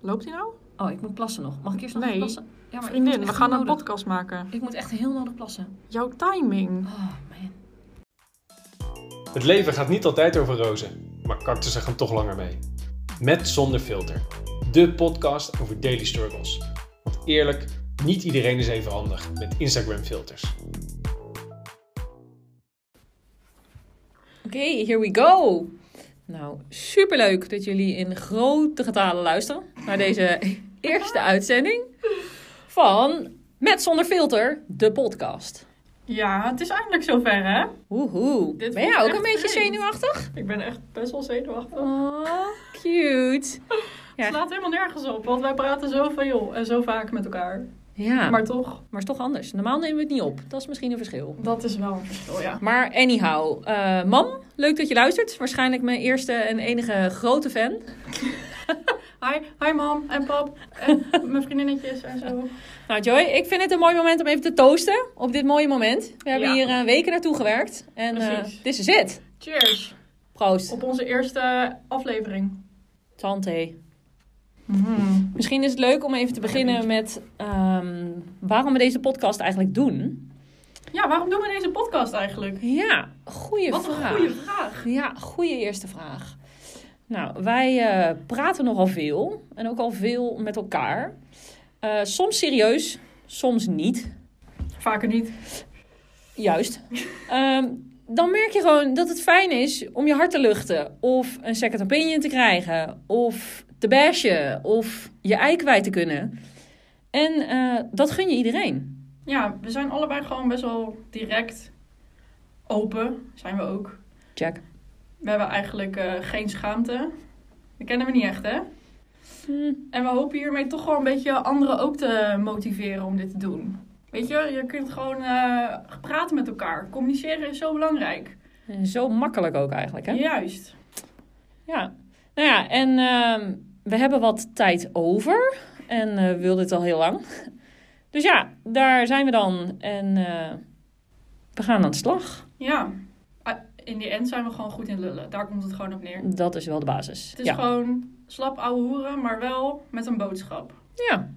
Loopt hij nou? Oh, ik moet plassen nog. Mag ik eerst nog Nee. even plassen? Ja, maar ik moet Vriendin, echt we heel gaan een nodig- podcast maken. Ik moet echt heel nodig plassen. Jouw timing. Oh, man. Het leven gaat niet altijd over rozen, maar cactussen gaan toch langer mee. Met Zonder Filter, de podcast over daily struggles. Want eerlijk, niet iedereen is even handig met Instagram filters. Oké, here we go. Nou, superleuk dat jullie in grote getalen luisteren naar deze eerste uitzending van Met Zonder Filter, de podcast. Ja, het is eindelijk zover, hè? Woehoe. Dit Ben jij voelt ook een echt beetje vreemd. zenuwachtig? Ik ben echt best wel zenuwachtig. Oh, cute. Ja. Het slaat helemaal nergens op, want wij praten zo veel en zo vaak met elkaar. Ja, maar, Maar toch, maar is toch anders. Normaal nemen we het niet op. Dat is misschien een verschil. dat is wel een verschil, ja. Maar anyhow, eh, mam, leuk dat je luistert. Waarschijnlijk mijn eerste en enige grote fan. Hi, hi mam en pap en mijn vriendinnetjes en zo. Nou Joy, ik vind het een mooi moment om even te toosten op dit mooie moment. We hebben Ja. hier eh, weken naartoe gewerkt en eh Precies. dit is het. Cheers Proost. op onze eerste aflevering. Tante. Misschien is het leuk om even te beginnen met ehm, waarom we deze podcast eigenlijk doen. Ja, waarom doen we deze podcast eigenlijk? Ja, goede Wat een vraag. goede vraag. Ja, goede eerste vraag. Nou, wij eh, praten nogal veel en ook al veel met elkaar. Eh, soms serieus, soms niet. Vaker niet. Juist. Ehm, dan merk je gewoon dat het fijn is om je hart te luchten. Of een second opinion te krijgen. Of te bashen. Of je ei kwijt te kunnen. En eh, dat gun je iedereen. Ja, we zijn allebei gewoon best wel direct open, zijn we ook. Jack. We hebben eigenlijk eh, geen schaamte. Dat kennen we niet echt, hè? Hm, En we hopen hiermee toch gewoon een beetje anderen ook te motiveren om dit te doen. Weet je, je kunt gewoon eh, praten met elkaar. Communiceren is zo belangrijk. En zo makkelijk ook eigenlijk, hè? Juist. Ja. Nou ja, en ehm, we hebben wat tijd over. En eh, we wilden het al heel lang. Dus ja, daar zijn we dan. En eh, we gaan aan de slag. Ja. Ah, In die end zijn we gewoon goed in lullen. Daar komt het gewoon op neer. Dat is wel de basis. Het is ja. gewoon slap ouwe hoeren, maar wel met een boodschap. Ja.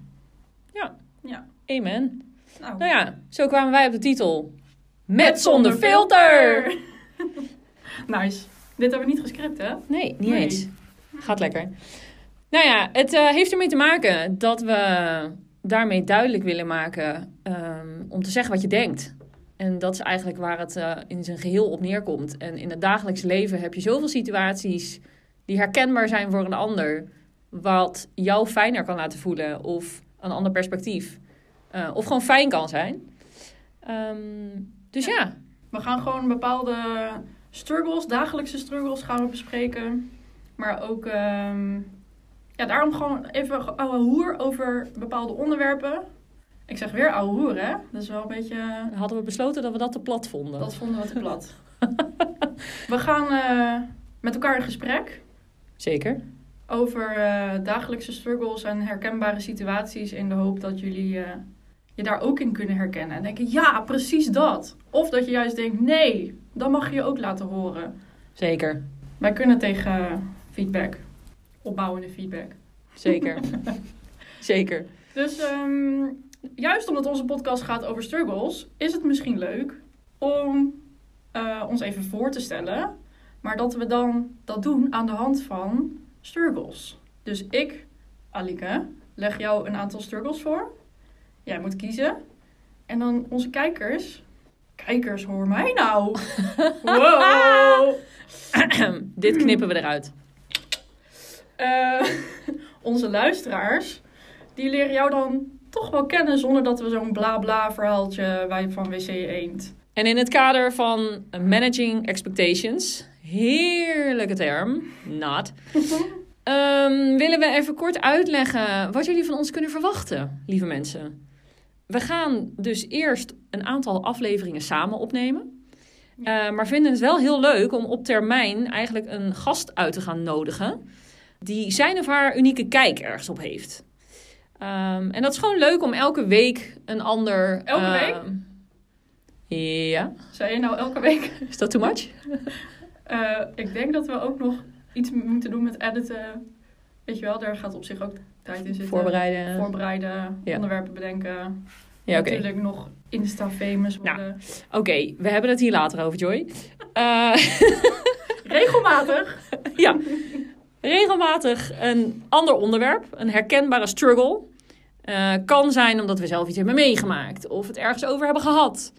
Ja. Ja. Amen. Nou, Nou ja, zo kwamen wij op de titel. Met zonder filter! nice. Dit hebben we niet gescript, hè? Nee, niet Nee. eens. Gaat lekker. Nou ja, het eh, heeft ermee te maken dat we daarmee duidelijk willen maken ehm, om te zeggen wat je denkt. En dat is eigenlijk waar het eh, in zijn geheel op neerkomt. En in het dagelijks leven heb je zoveel situaties die herkenbaar zijn voor een ander, wat jou fijner kan laten voelen of een ander perspectief. eh, of gewoon fijn kan zijn. Ehm, dus Ja. ja. We gaan gewoon bepaalde struggles, dagelijkse struggles gaan we bespreken. Maar ook, ehm, ja, daarom gewoon even ouwe hoer over bepaalde onderwerpen. Ik zeg weer ouwe hoer, hè? Dat is wel een beetje, hadden we besloten dat we dat te plat vonden. dat vonden we te plat. we gaan eh, met elkaar in gesprek Zeker. over eh, dagelijkse struggles en herkenbare situaties. In de hoop dat jullie eh, je daar ook in kunnen herkennen. En denken, ja, precies dat. Of dat je juist denkt, nee, dat mag je je ook laten horen. Zeker. Wij kunnen tegen feedback. Opbouwende feedback. Zeker. Zeker. Dus ehm, juist omdat onze podcast gaat over struggles, is het misschien leuk om eh, ons even voor te stellen. Maar dat we dan dat doen aan de hand van struggles. Dus ik, Alike, leg jou een aantal struggles voor. Jij moet kiezen. En dan onze kijkers. Kijkers, hoor mij nou. Wow. Dit knippen we eruit. Eh, onze luisteraars, die leren jou dan toch wel kennen zonder dat we zo'n bla bla verhaaltje wij van WC Eend. En in het kader van managing expectations, heerlijke term, not, ehm, willen we even kort uitleggen wat jullie van ons kunnen verwachten, lieve mensen. We gaan dus eerst een aantal afleveringen samen opnemen. Eh, maar vinden het wel heel leuk om op termijn eigenlijk een gast uit te gaan nodigen. Die zijn of haar unieke kijk ergens op heeft. Ehm, en dat is gewoon leuk om elke week een ander. Elke ehm, Ja. Zei je nou elke week? Is dat too much? Eh, ik denk dat we ook nog iets moeten doen met editen. Weet je wel, daar gaat op zich ook tijd in zitten. Voorbereiden. Voorbereiden, Ja. onderwerpen bedenken. ja, oké. Nou. Natuurlijk nog Insta-famous worden. Oké, we hebben het hier later over, Joy. Eh, Regelmatig. ja, regelmatig een ander onderwerp, een herkenbare struggle. Eh, kan zijn omdat we zelf iets hebben meegemaakt, of het ergens over hebben gehad,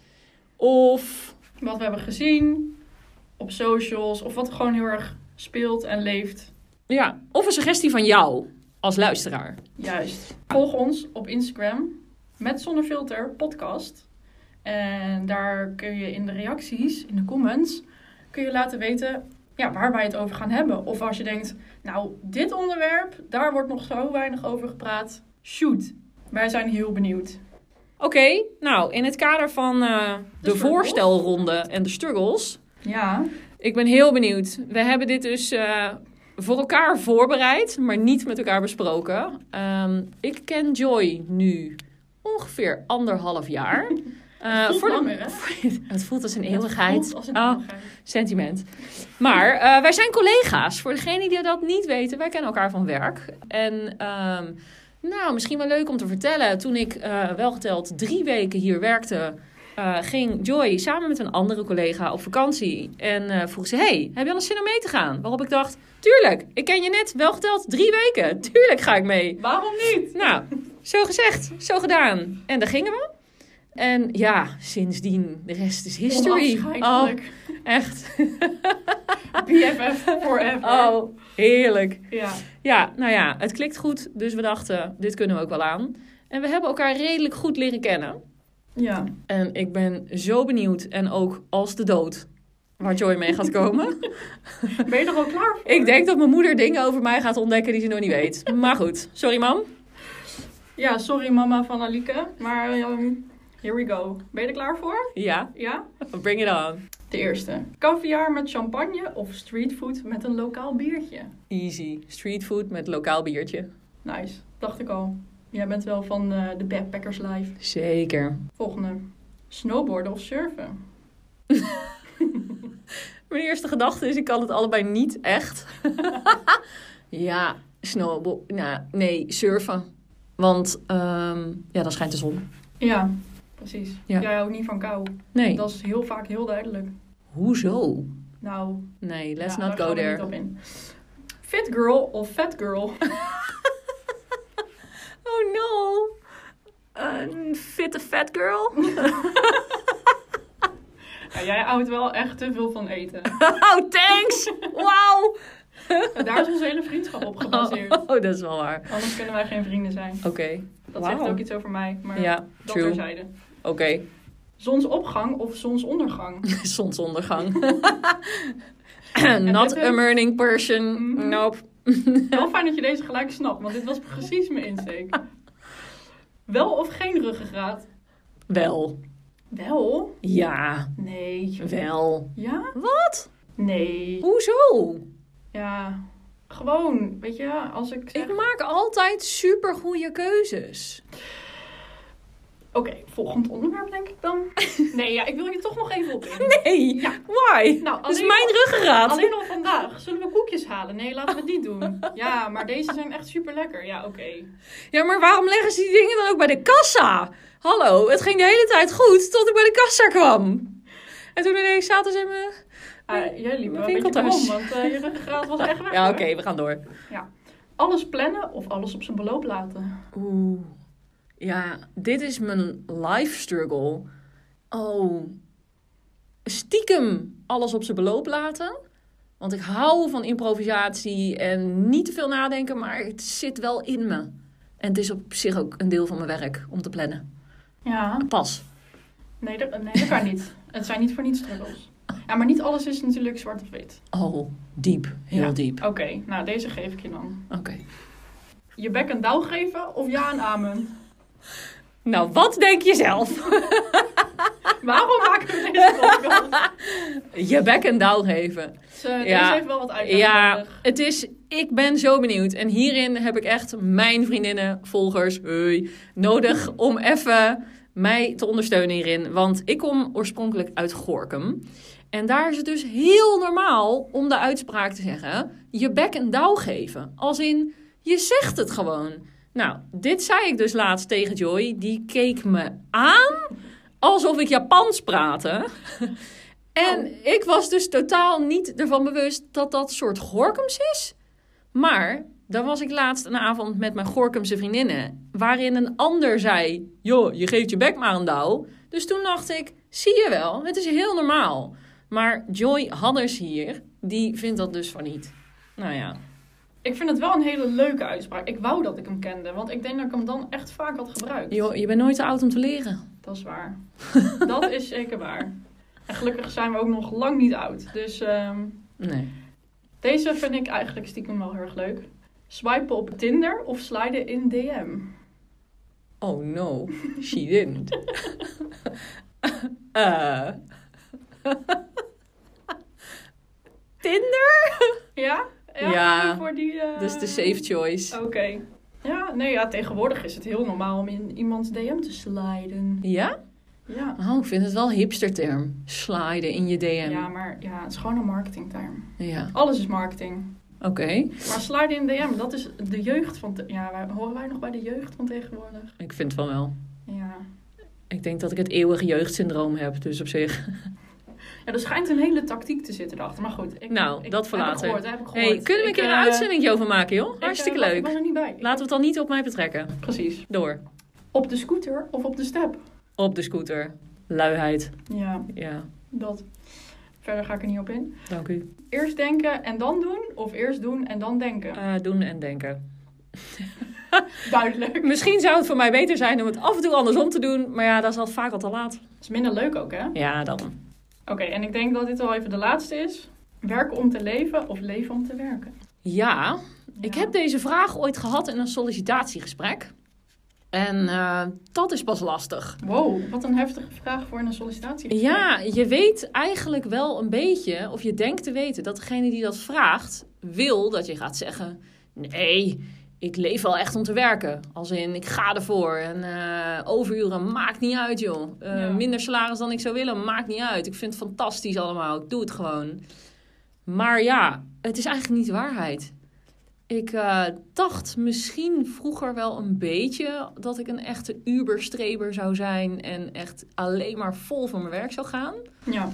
of Wat we hebben gezien op socials. Of wat gewoon heel erg speelt en leeft. Ja, of een suggestie van jou als luisteraar. Juist. Volg ons op Instagram. Met zonder filter podcast. En daar kun je in de reacties, in de comments, kun je laten weten ja, waar wij het over gaan hebben. Of als je denkt, nou, dit onderwerp, daar wordt nog zo weinig over gepraat. Shoot. Wij zijn heel benieuwd. Oké, nou, in het kader van eh, de, struggles. voorstelronde en de struggles. Ja, Ik ben heel benieuwd. We hebben dit dus eh, voor elkaar voorbereid, maar niet met elkaar besproken. Ehm, ik ken Joy nu ongeveer anderhalf jaar. Eh, voelt de- langer, hè? het voelt als een Het eeuwigheid. voelt Als een Oh, eeuwigheid. sentiment. Maar eh, wij zijn collega's. Voor degenen die dat niet weten, wij kennen elkaar van werk. En ehm, nou, misschien wel leuk om te vertellen. Toen ik eh wel geteld drie weken hier werkte, eh, ging Joy samen met een andere collega op vakantie. En eh, vroeg ze, hey, heb je al zin om mee te gaan? Waarop ik dacht, tuurlijk, ik ken je net wel geteld drie weken. Tuurlijk ga ik mee. Waarom niet? Nou, zo gezegd, zo gedaan. En daar gingen we. En ja, sindsdien, de rest is history. Oh, Onafscheidelijk. echt. BFF forever. Oh, heerlijk. Ja. Ja, nou ja, het klikt goed. Dus we dachten, dit kunnen we ook wel aan. En we hebben elkaar redelijk goed leren kennen. ja. En ik ben zo benieuwd. En ook als de dood. Waar Joy mee gaat komen. Ben je er al klaar voor? ik denk dat mijn moeder dingen over mij gaat ontdekken die ze nog niet weet. Maar goed, sorry mam. Ja, sorry mama van Alike, maar ehm, here we go. Ben je er klaar voor? Ja, Ja? bring it on. De eerste. Caviar met champagne of streetfood met een lokaal biertje? Easy. Street food met lokaal biertje. Nice, dacht ik al. Jij bent wel van eh, de Backpackers Life. Zeker. Volgende. Snowboarden of surfen? Mijn eerste gedachte is, ik kan het allebei niet echt. ja, snowboard. Nou, nee, surfen. Want ehm, ja, dan schijnt de zon. Ja, precies. Ja. Jij houdt niet van kou. Nee. Dat is heel vaak heel duidelijk. Hoezo? Nou, Nee, let's ja, not daar go gaan we there. niet op in. Fit girl of fat girl? Oh no. Een fitte fat girl? Ja, jij houdt wel echt te veel van eten. Oh, thanks! Wauw! En daar is onze hele vriendschap op gebaseerd. Oh, dat is wel waar. Anders kunnen wij geen vrienden zijn. Oké. Dat Wauw. zegt ook iets over mij, maar Ja, dat true. terzijde. Oké. Zonsopgang of zonsondergang? Zonsondergang. not dit is- a morning person. Mhm. Nope. Wel fijn dat je deze gelijk snapt, want dit was precies mijn insteek. Wel of geen ruggengraat? Wel. Wel? Ja, Nee. wel. Ja? Wat? Nee. Hoezo? Ja, gewoon, weet je, als ik zeg... Ik maak altijd super goede keuzes. Oké, volgend onderwerp denk ik dan. Nee, ja, ik wil je toch nog even op in. Nee, Ja. why? Nou, Dat is alleen- mijn ruggengraat. Alleen al vandaag. Zullen we koekjes halen? Nee, laten we die doen. Ja, maar deze zijn echt super lekker. Ja, oké. Ja, maar waarom leggen ze die dingen dan ook bij de kassa? Hallo, het ging de hele tijd goed tot ik bij de kassa kwam. En toen ineens zaten ze in mijn... Ah, jij liep Mijn wel een beetje winkeltas. om, want eh, je ruggengraat was echt weg. Ja, hoor. oké, we gaan door. Alles plannen of alles op zijn beloop laten? Oeh. Ja, dit is mijn life struggle. Oh. Stiekem alles op zijn beloop laten. Want ik hou van improvisatie en niet te veel nadenken, maar het zit wel in me. En het is op zich ook een deel van mijn werk om te plannen. Ja. Pas. Nee, dat, nee, dat kan niet. Het zijn niet voor niets struggles. Ja, maar niet alles is natuurlijk zwart of wit. Oh, diep. Heel Ja. diep. Oké, nou deze geef ik je dan. Oké. Je bek een douw geven of ja en amen? Nou, wat denk je zelf? Waarom maken we deze podcast? Je bek en douw geven. Dus, eh, deze Ja. heeft wel wat uitleg Ja, nodig. het is. Ik ben zo benieuwd. En hierin heb ik echt mijn vriendinnen, volgers, hoi, nodig om even mij te ondersteunen hierin. Want ik kom oorspronkelijk uit Gorkum. En daar is het dus heel normaal om de uitspraak te zeggen: je bek een douw geven. Als in. Je zegt het gewoon. Nou, dit zei ik dus laatst tegen Joy. Die keek me aan alsof ik Japans praatte. en ik was dus totaal niet ervan bewust dat dat soort Gorkums is. Maar dan was ik laatst een avond met mijn Gorkumse vriendinnen. Waarin een ander zei: Joh, je geeft je bek maar een douw. Dus toen dacht ik: Zie je wel, het is heel normaal. Maar Joy Hadders hier, die vindt dat dus van niet. Nou ja. Ik vind het wel een hele leuke uitspraak. Ik wou dat ik hem kende, want ik denk dat ik hem dan echt vaak had gebruikt. Joh, je bent nooit te oud om te leren. Dat is waar. dat is zeker waar. En gelukkig zijn we ook nog lang niet oud. Dus ehm, Nee. deze vind ik eigenlijk stiekem wel heel erg leuk. Swipen op Tinder of sliden in DM. Oh no, she didn't. Eh. Tinder? Ja? Ja, Voor die, eh, Dat is de safe choice. Oké. Ja, nee, ja, tegenwoordig is het heel normaal om in iemands DM te sliden. Ja? Ja. Oh, ik vind het wel een hipsterterm. Sliden in je DM. Ja, Ja. maar ja, het is gewoon een marketingterm. Alles is marketing. Oké. Maar sliden in DM, dat is de jeugd van... te- Ja, wij, horen wij nog bij de jeugd van tegenwoordig? Ik vind van wel. Ja. Ik denk dat ik het eeuwige jeugdsyndroom heb, dus op zich. Ja, er schijnt een hele tactiek te zitten erachter. Maar goed. Ik, Nou, ik- dat voor heb ik later. gehoord, heb ik gehoord. hey, kunnen we een keer een eh, uitzending over maken, joh? ik, Hartstikke eh, was- Ik leuk. Nou, was er niet bij. Laten we het dan niet op mij betrekken. Precies. Door. Op de scooter of op de step? Op de scooter. Luiheid. Ja, Ja, dat. Verder ga ik er niet op in. dank u. Eerst denken en dan doen? Of eerst doen en dan denken? Eh, doen en denken. Duidelijk. Misschien zou het voor mij beter zijn om het af en toe andersom te doen. Maar ja, dat is al vaak al te laat. is minder leuk ook, hè? Oké, Ja, dan. en ik denk dat dit wel even de laatste is. Werken om te leven of leven om te werken? Ja, ik Ja. heb deze vraag ooit gehad in een sollicitatiegesprek. En eh, dat is pas lastig. Wow, wat een heftige vraag voor een sollicitatie. Ja, je weet eigenlijk wel een beetje, of je denkt te weten, dat degene die dat vraagt, wil dat je gaat zeggen: Nee, ik leef wel echt om te werken. Als in, ik ga ervoor. En eh, overuren maakt niet uit, joh. Eh, Ja. Minder salaris dan ik zou willen, maakt niet uit. Ik vind het fantastisch allemaal. Ik doe het gewoon. Maar ja, het is eigenlijk niet de waarheid. Ik eh, dacht misschien vroeger wel een beetje dat ik een echte uberstreber zou zijn en echt alleen maar vol van mijn werk zou gaan. Ja,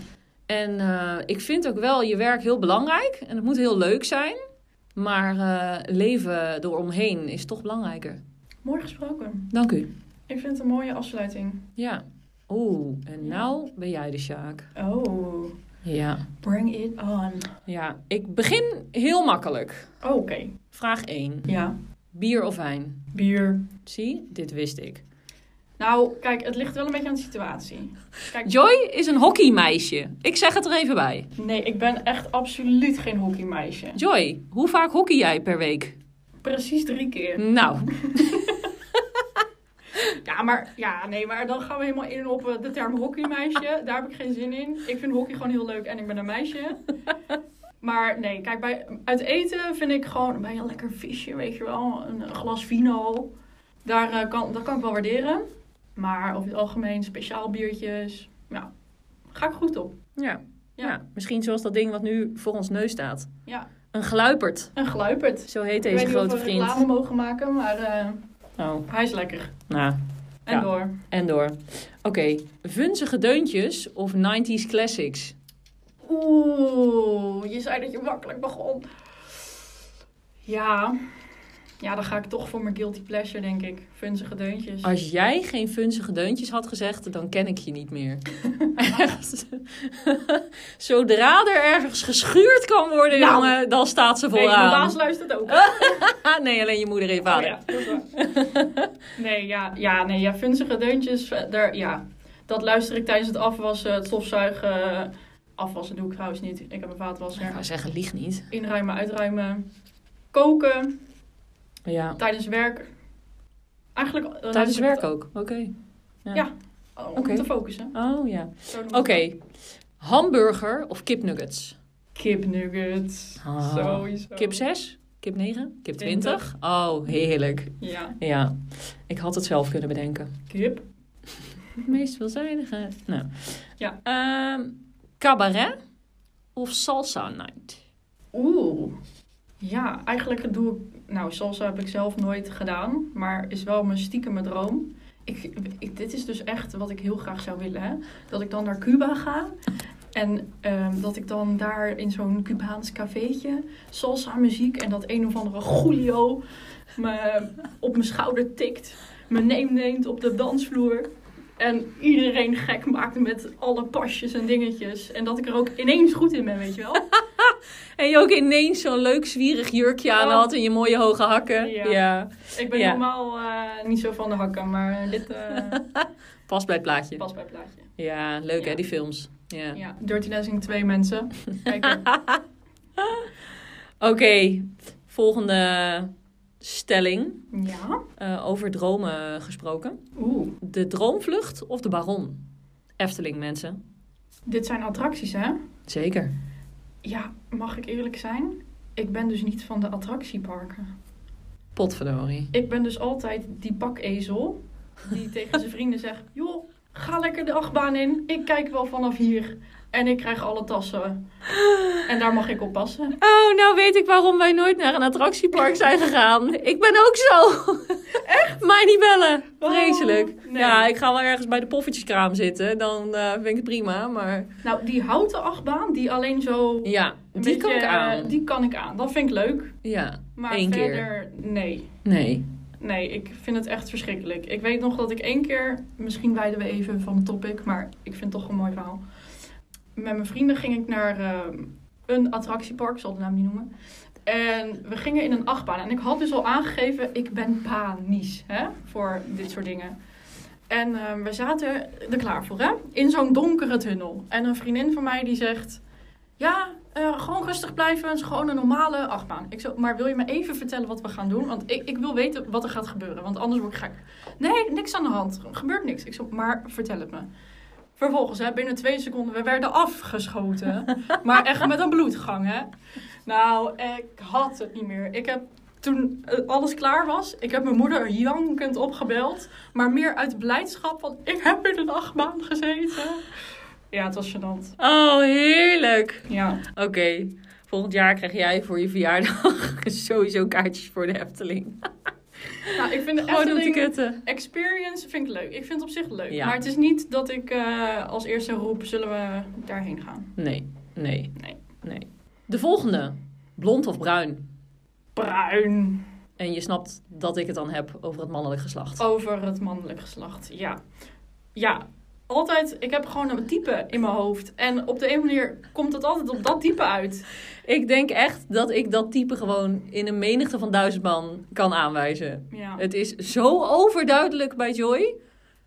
En eh, ik vind ook wel je werk heel belangrijk en het moet heel leuk zijn. Maar eh, leven eromheen is toch belangrijker. mooi gesproken. Dank u. Ik vind het een mooie afsluiting. Ja. Oeh, en nou ben jij de Sjaak. Oh, Ja. bring it on. Ja, ik begin heel makkelijk. Oké, Vraag 1. ja, Bier of wijn? bier. Zie, dit wist ik. Nou, kijk, het ligt wel een beetje aan de situatie. Kijk, Joy is een hockeymeisje. Ik zeg het er even bij. nee, ik ben echt absoluut geen hockeymeisje. Joy, hoe vaak hockey jij per week? Precies drie keer. Nou, Ja, maar, ja, nee, maar dan gaan we helemaal in op eh, de term hockeymeisje. Daar heb ik geen zin in. Ik vind hockey gewoon heel leuk en ik ben een meisje. Maar nee, kijk, bij, uit eten vind ik gewoon bij een lekker visje, weet je wel. Een, een glas vino. Daar, eh, kan, dat kan ik wel waarderen. Maar over het algemeen speciaal biertjes. Ja, ga ik goed op. ja. Ja. ja. Misschien zoals dat ding wat nu voor ons neus staat. Ja, Een gluipert, een gluipert. zo heet ik weet deze niet of grote we vriend. reclame mogen maken, maar eh, Oh, hij is lekker. nou, En Ja. door. en door. Oké, vunzige deuntjes of 90s classics? Oeh, je zei dat je makkelijk begon. Ja. Ja, dan ga ik toch voor mijn guilty pleasure, denk ik. Funzige deuntjes. Als jij geen vunzige deuntjes had gezegd, dan ken ik je niet meer. Echt. Zodra er ergens geschuurd kan worden, Nou. jongen, dan staat ze nee, mijn baas vooraan. luistert ook. nee, alleen je moeder en je Oh vader. ja, dat is waar. nee, ja, ja, nee, ja, funzige deuntjes. eh, Daar, ja. Dat luister ik tijdens het afwassen, het stofzuigen. eh, Afwassen doe ik trouwens niet. Ik heb een Ik vaatwasser. zou zeggen, lieg niet. Inruimen, uitruimen. Koken, Ja. tijdens werk. Eigenlijk... eh, Tijdens luister ik werk ook. Oké. het- Om Oké. te focussen. Oh ja. Zo noem ik Oké. Hamburger of kipnuggets? Oh. Kipnuggets. Ah. Sowieso. Kip 6? Kip 9? Kip 20. 20? Oh, heerlijk. Ja, Ja. Ik had het zelf kunnen bedenken. kip. Het meest veelzijdige. Nou. Ja. Ehm, cabaret of salsa night? Oeh. Ja, eigenlijk doe ik nou, salsa heb ik zelf nooit gedaan, maar is wel mijn stiekeme droom. Ik, ik, dit is dus echt wat ik heel graag zou willen. Hè? Dat ik dan naar Cuba ga en ehm, dat ik dan daar in zo'n Cubaans cafeetje salsa muziek en dat een of andere Julio me op mijn schouder tikt, me neem neemt op de dansvloer. En iedereen gek maakt met alle pasjes en dingetjes. En dat ik er ook ineens goed in ben, weet je wel. En je ook ineens zo'n leuk zwierig jurkje aan Oh. had en je mooie hoge hakken. Ja. Ja. Ik ben Ja. normaal eh, niet zo van de hakken, maar dit eh Pas bij het plaatje. past bij het plaatje. Ja, leuk Ja. hè, die films. Ja. Ja, Dirty Dancing 2 mensen. Kijken. Oké, volgende stelling. Ja. Eh, over dromen gesproken. Oeh. De droomvlucht of de baron? Efteling, mensen. Dit zijn attracties, hè? Zeker. Ja, mag ik eerlijk zijn? Ik ben dus niet van de attractieparken. Potverdorie. Ik ben dus altijd die pakezel die tegen zijn vrienden zegt... joh, ga lekker de achtbaan in. Ik kijk wel vanaf hier. En ik krijg alle tassen. En daar mag ik op passen. Oh, nou weet ik waarom wij nooit naar een attractiepark zijn gegaan. Ik ben ook zo. Echt? Mij niet bellen. Vreselijk. Oh, nee. Ja, ik ga wel ergens bij de poffertjeskraam zitten. Dan eh, vind ik het prima. Maar Nou, die houten achtbaan die alleen zo... ja, een die kan ik beetje, eh, aan. Die kan ik aan. Dat vind ik leuk. Ja, Maar Eén keer. verder, nee. nee. Nee, ik vind het echt verschrikkelijk. Ik weet nog dat ik één keer, misschien wijden we even van het topic, maar ik vind het toch een mooi verhaal. Met mijn vrienden ging ik naar ehm, een attractiepark, ik zal de naam niet noemen. En we gingen in een achtbaan. En ik had dus al aangegeven, ik ben panisch hè, voor dit soort dingen. En ehm, we zaten er klaar voor, hè? In zo'n donkere tunnel. En een vriendin van mij die zegt... Ja, eh, gewoon rustig blijven. Het is gewoon een normale achtbaan. Ik zo, maar wil je me even vertellen wat we gaan doen? Want ik, ik wil weten wat er gaat gebeuren. Want anders word ik gek. Nee, niks aan de hand. Er gebeurt niks. Ik zo, maar vertel het me. Vervolgens, hè, binnen twee seconden, we werden afgeschoten. maar echt met een bloedgang, hè. Nou, ik had het niet meer. Ik heb toen eh, alles klaar was, ik heb mijn moeder jankend opgebeld. Maar meer uit blijdschap, want ik heb in een achtbaan gezeten. Ja, het was gênant. Oh, heerlijk. Ja. Oké. Volgend jaar krijg jij voor je verjaardag sowieso kaartjes voor de Efteling. Nou, ik vind de Gewoon om te Efteling kutten. experience vind ik leuk. Ik vind het op zich leuk. Ja. Maar het is niet dat ik eh, als eerste roep, zullen we daarheen gaan? Nee, nee, Nee. nee. De volgende. Blond of bruin? Bruin. En je snapt dat ik het dan heb over het mannelijk geslacht. Over het mannelijk geslacht, ja. Ja, altijd, ik heb gewoon een type in mijn hoofd. En op de een of andere manier komt het altijd op dat type uit. Ik denk echt dat ik dat type gewoon in een menigte van duizend man kan aanwijzen. Ja. Het is zo overduidelijk bij Joy.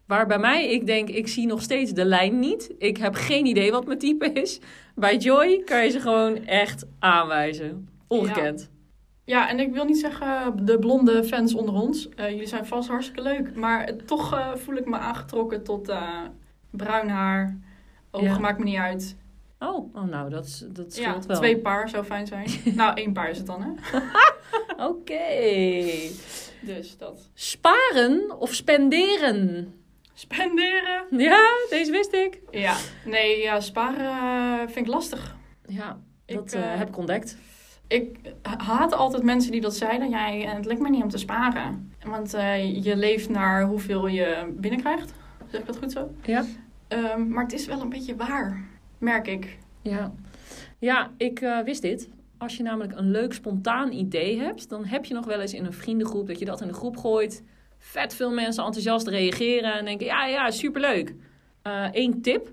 Waar bij mij, ik denk, ik zie nog steeds de lijn niet. Ik heb geen idee wat mijn type is. Bij Joy kan je ze gewoon echt aanwijzen. Ongekend. Ja, en ik wil niet zeggen de blonde fans onder ons. eh, jullie zijn vast hartstikke leuk. Maar het- toch eh, voel ik me aangetrokken tot eh, bruin haar. Ogen Ja. maakt me niet uit. Oh, oh, nou, dat, is- dat Ja, scheelt wel. twee paar zou fijn zijn. nou, één paar is het dan, hè? Oké. Dus dat. Sparen of spenderen? Spenderen. Ja, deze wist ik. Ja, nee, ja, sparen eh, vind ik lastig. Ja, Ik, dat eh, eh, heb ik ontdekt. Ik haat altijd mensen die dat zeiden. Jij, eh, het lukt me niet om te sparen. Want eh, je leeft naar hoeveel je binnenkrijgt. Zeg ik dat goed zo? Ja. Ehm, maar het is wel een beetje waar, merk ik. Ja, ja ik eh, wist dit. Als je namelijk een leuk spontaan idee hebt, dan heb je nog wel eens in een vriendengroep dat je dat in de groep gooit. Vet veel mensen enthousiast reageren en denken: ja, ja, superleuk. Eén tip: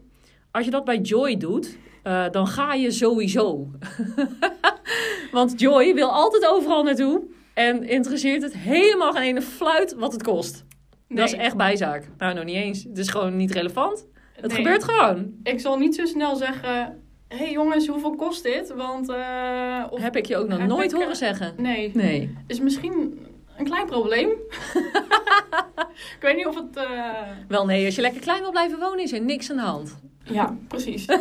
als je dat bij Joy doet, eh, dan ga je sowieso. Want Joy wil altijd overal naartoe en interesseert het helemaal geen ene fluit wat het kost. Nee, Dat is echt bijzaak. Nou, nog niet eens. Het is gewoon niet relevant. Het nee. gebeurt gewoon. Ik zal niet zo snel zeggen... Hé hey jongens, hoeveel kost dit? Want... eh, of... Heb ik je ook nog Heb nooit ik, eh, horen zeggen? Nee, Nee. is misschien een klein probleem. ik weet niet of het... eh, Wel nee, als je lekker klein wil blijven wonen, is er niks aan de hand. Ja, precies. Oké,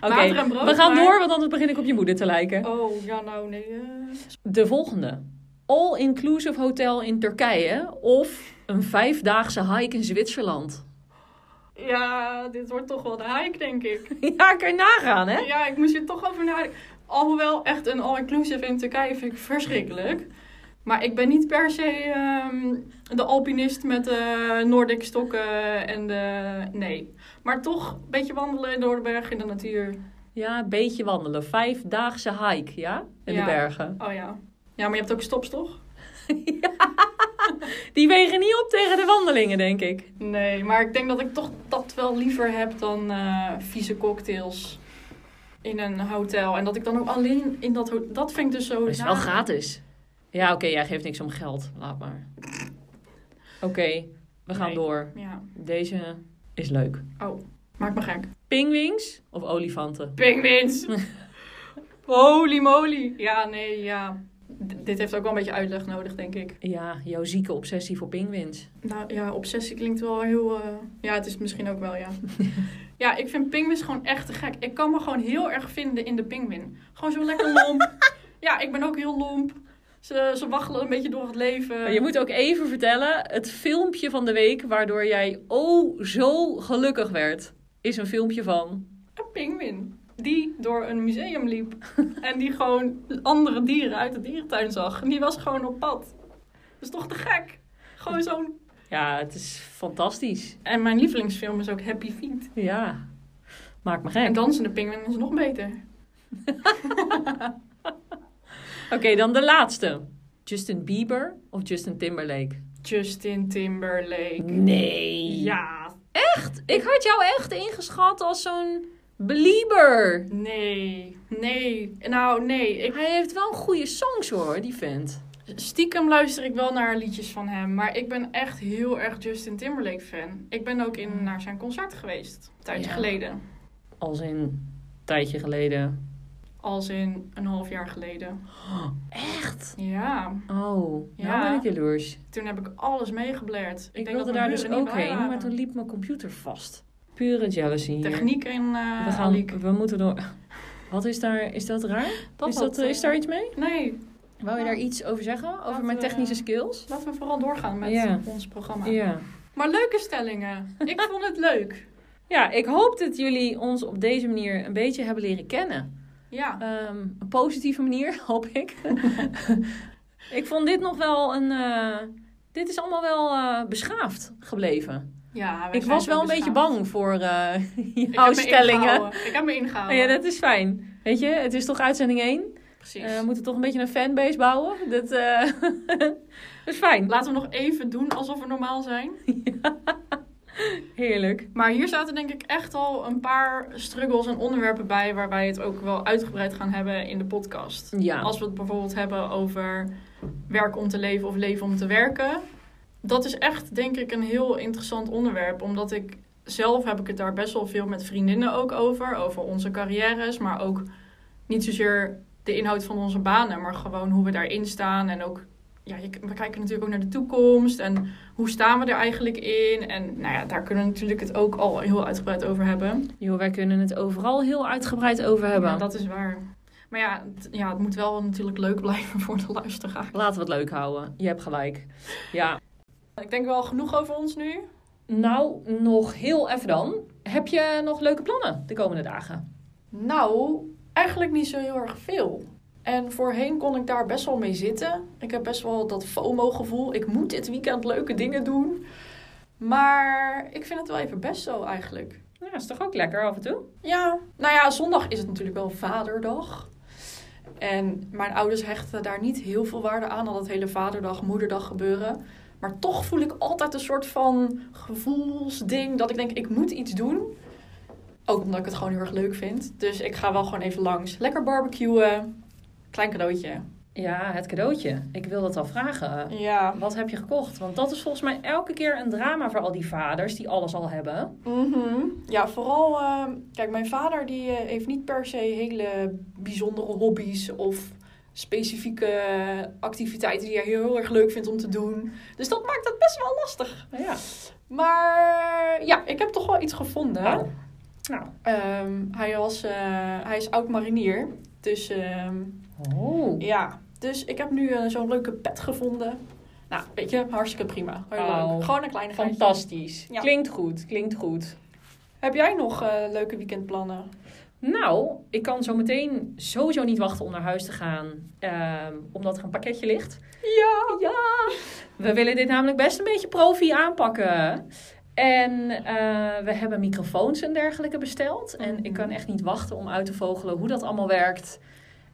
Water en brood, we gaan maar- door, want anders begin ik op je moeder te lijken. Oh, ja nou nee. eh. De volgende. All-inclusive hotel in Turkije of een vijfdaagse hike in Zwitserland. Ja, dit wordt toch wel de hike, denk ik. Ja, kan je nagaan, hè? Ja, ik moest hier toch over nadenken. Alhoewel, echt een all-inclusive in Turkije vind ik verschrikkelijk. Maar ik ben niet per se ehm, de alpinist met de Nordic stokken en de... Nee. Maar toch een beetje wandelen door de berg in de natuur. Ja, een beetje wandelen. Vijfdaagse hike, ja? In Ja. de bergen. Oh ja. Ja, maar je hebt ook stops, toch? Die wegen niet op tegen de wandelingen, denk ik. Nee, maar ik denk dat ik toch dat wel liever heb dan eh, vieze cocktails in een hotel. En dat ik dan ook alleen in dat hotel... Dat vind ik dus zo... Dat is wel gratis. Ja, oké, jij geeft niks om geld. Laat maar. Oké, we gaan Nee. door. Ja. Deze is leuk. Maakt me gek. Pingwings of olifanten? Penguins! Holy moly! Ja, nee, ja. D- dit heeft ook wel een beetje uitleg nodig, denk ik. Ja, jouw zieke obsessie voor pingwings. Nou ja, obsessie klinkt wel heel. eh, Ja, het is het misschien ook wel, ja. ja, ik vind pinguïns gewoon echt te gek. Ik kan me gewoon heel erg vinden in de pinguïn. Gewoon zo lekker lomp. ja, ik ben ook heel lomp. Ze, ze waggelen een beetje door het leven. Maar Nou, je moet ook even vertellen, het filmpje van de week waardoor jij oh zo gelukkig werd, is een filmpje van. Een pinguïn. Die door een museum liep. en die gewoon andere dieren uit de dierentuin zag. En die was gewoon op pad. Dat is toch te gek? Gewoon zo'n. Ja, het is fantastisch. En mijn lievelingsfilm is ook Happy Feet. Ja, maakt me En gek. dansende pinguïn is nog beter. Oké, dan de laatste. Justin Bieber of Justin Timberlake? Justin Timberlake. Nee. Ja. Ja, Ik had jou echt ingeschat als zo'n belieber. Nee, nee. Nou, nee. Ik, Hij heeft wel goede songs hoor, die vent. stiekem luister ik wel naar liedjes van hem. Maar ik ben echt heel erg Justin Timberlake fan. Ik ben ook in, naar zijn concert geweest. Een tijdje Mm. Ja. geleden. Als in een tijdje geleden. Als in een half jaar geleden. Echt? Ja. Oh, ja. Ja. nou ben ik jaloers. Toen heb ik alles meegeblerd. Ik, denk dat wilde mijn daar dus buren niet ook bij heen, waren. maar toen liep mijn computer vast. Pure jealousy hier. Techniek in eh we, gaan, we moeten door. Wat is daar? Is dat raar? is, dat, eh, is daar iets mee? Nee, Wou je daar iets over zeggen? Over Laten mijn we- technische skills? laten we vooral doorgaan met Ja. ons programma. Ja. Maar leuke stellingen. ik vond het leuk. Ja, ik hoop dat jullie ons op deze manier een beetje hebben leren kennen. Ja. Ehm, een positieve manier, hoop ik. ik vond dit nog wel een. eh, dit is allemaal wel eh, beschaafd gebleven. ja wij Ik zijn was zo wel een beetje beschaafd. bang voor eh Ik jouw heb me stellingen. ingehouden. Ik heb me Oh ingehouden. ja, dat is fijn. Weet je, het is toch uitzending 1. Precies. we moeten toch een beetje een fanbase bouwen. Dat, eh, dat is fijn. Laten we nog even doen alsof we normaal zijn. Heerlijk. Maar hier zaten denk ik echt al een paar struggles en onderwerpen bij... waar wij het ook wel uitgebreid gaan hebben in de podcast. Ja. Nou, Als we het bijvoorbeeld hebben over werk om te leven of leven om te werken. Dat is echt denk ik een heel interessant onderwerp. Omdat ik zelf heb ik het daar best wel veel met vriendinnen ook over. Over onze carrières, maar ook niet zozeer de inhoud van onze banen. Maar gewoon hoe we daarin staan. En ook, ja, je- we kijken natuurlijk ook naar de toekomst. En hoe staan we er eigenlijk in? En nou ja, daar kunnen we natuurlijk het ook al heel uitgebreid over hebben. Joh, wij kunnen het overal heel uitgebreid over hebben. Ja, dat is waar. Maar ja, het- ja, het moet wel natuurlijk leuk blijven voor de luisteraar. Laten we het leuk houden. Je hebt gelijk. Ja. Ik denk wel genoeg over ons nu. Nou, nog heel even dan. Heb je nog leuke plannen de komende dagen? Nou, eigenlijk niet zo heel erg veel. En voorheen kon ik daar best wel mee zitten. Ik heb best wel dat FOMO-gevoel. Ik moet dit weekend leuke dingen doen. Maar ik vind het wel even best zo eigenlijk. Ja, is toch ook lekker af en toe? Ja, nou ja, zondag is het natuurlijk wel vaderdag. En mijn ouders hechten daar niet heel veel waarde aan, al dat hele vaderdag, moederdag gebeuren. Maar toch voel ik altijd een soort van gevoelsding dat ik denk, ik moet iets doen. Ook omdat ik het gewoon heel erg leuk vind. Dus ik ga wel gewoon even langs. Lekker barbecuen. Klein cadeautje. Ja, het cadeautje. Ik wil dat al vragen. Ja. Wat heb je gekocht? Want dat is volgens mij elke keer een drama voor al die vaders die alles al hebben. Mhm. Ja, vooral, eh, kijk, mijn vader die eh, heeft niet per se hele bijzondere hobby's of specifieke eh, activiteiten die hij heel erg leuk vindt om te doen. Dus dat maakt het best wel lastig. Ja. Maar ja, ik heb toch wel iets gevonden. Nou. Nou. Ehm, hij, was, eh, hij is oud marinier, dus ehm, Oh. ja. Dus ik heb nu eh, zo'n leuke pet gevonden. Nou, weet je, hartstikke prima. Heel Oh. leuk. Gewoon een kleine Fantastisch. Ja. Klinkt goed, klinkt goed. Heb jij nog eh, leuke weekendplannen? Nou, ik kan zo meteen sowieso niet wachten om naar huis te gaan, ehm, omdat er een pakketje ligt. Ja. Ja, we willen dit namelijk best een beetje profi aanpakken. En eh, we hebben microfoons en dergelijke besteld. En ik kan echt niet wachten om uit te vogelen hoe dat allemaal werkt.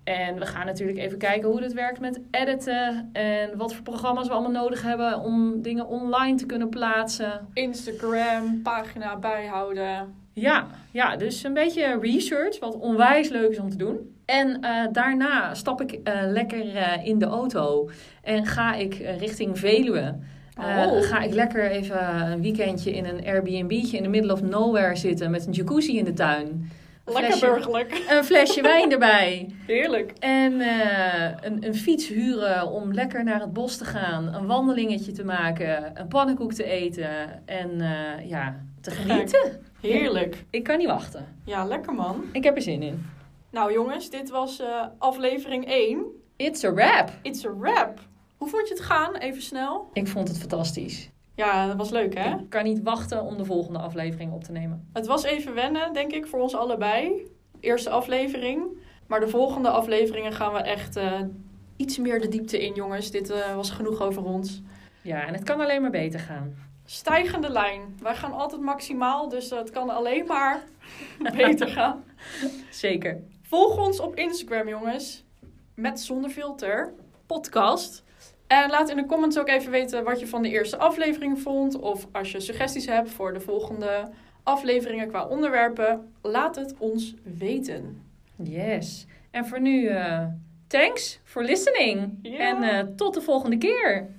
En we gaan natuurlijk even kijken hoe dat werkt met editen. En wat voor programma's we allemaal nodig hebben om dingen online te kunnen plaatsen. Instagram, pagina bijhouden. Ja, ja dus een beetje research, wat onwijs leuk is om te doen. En eh, daarna stap ik eh, lekker eh, in de auto en ga ik eh, richting Veluwe. Eh, Oh. ga ik lekker even een weekendje in een Airbnb'tje in the middle of nowhere zitten met een jacuzzi in de tuin. Een Lekker flesje- burgerlijk. Een flesje wijn erbij. Heerlijk. En eh, een, een fiets huren om lekker naar het bos te gaan. Een wandelingetje te maken. Een pannenkoek te eten. En eh, ja, te genieten. Heerlijk. Ik kan niet wachten. Ja, lekker man. Ik heb er zin in. Nou jongens, dit was eh, aflevering 1. It's a wrap. It's a wrap. Hoe vond je het gaan? Even snel. Ik vond het fantastisch. Ja, dat was leuk hè? Ik kan niet wachten om de volgende aflevering op te nemen. Het was even wennen, denk ik, voor ons allebei. Eerste aflevering. Maar de volgende afleveringen gaan we echt eh, iets meer de diepte in, jongens. Dit eh, was genoeg over ons. Ja, en het kan alleen maar beter gaan. Stijgende lijn. Wij gaan altijd maximaal, dus het kan alleen maar beter gaan. Zeker. Volg ons op Instagram, jongens. Met zonder filter. Podcast. En laat in de comments ook even weten wat je van de eerste aflevering vond. Of als je suggesties hebt voor de volgende afleveringen qua onderwerpen. Laat het ons weten. Yes. En voor nu, eh, thanks for listening. Ja. En eh, tot de volgende keer.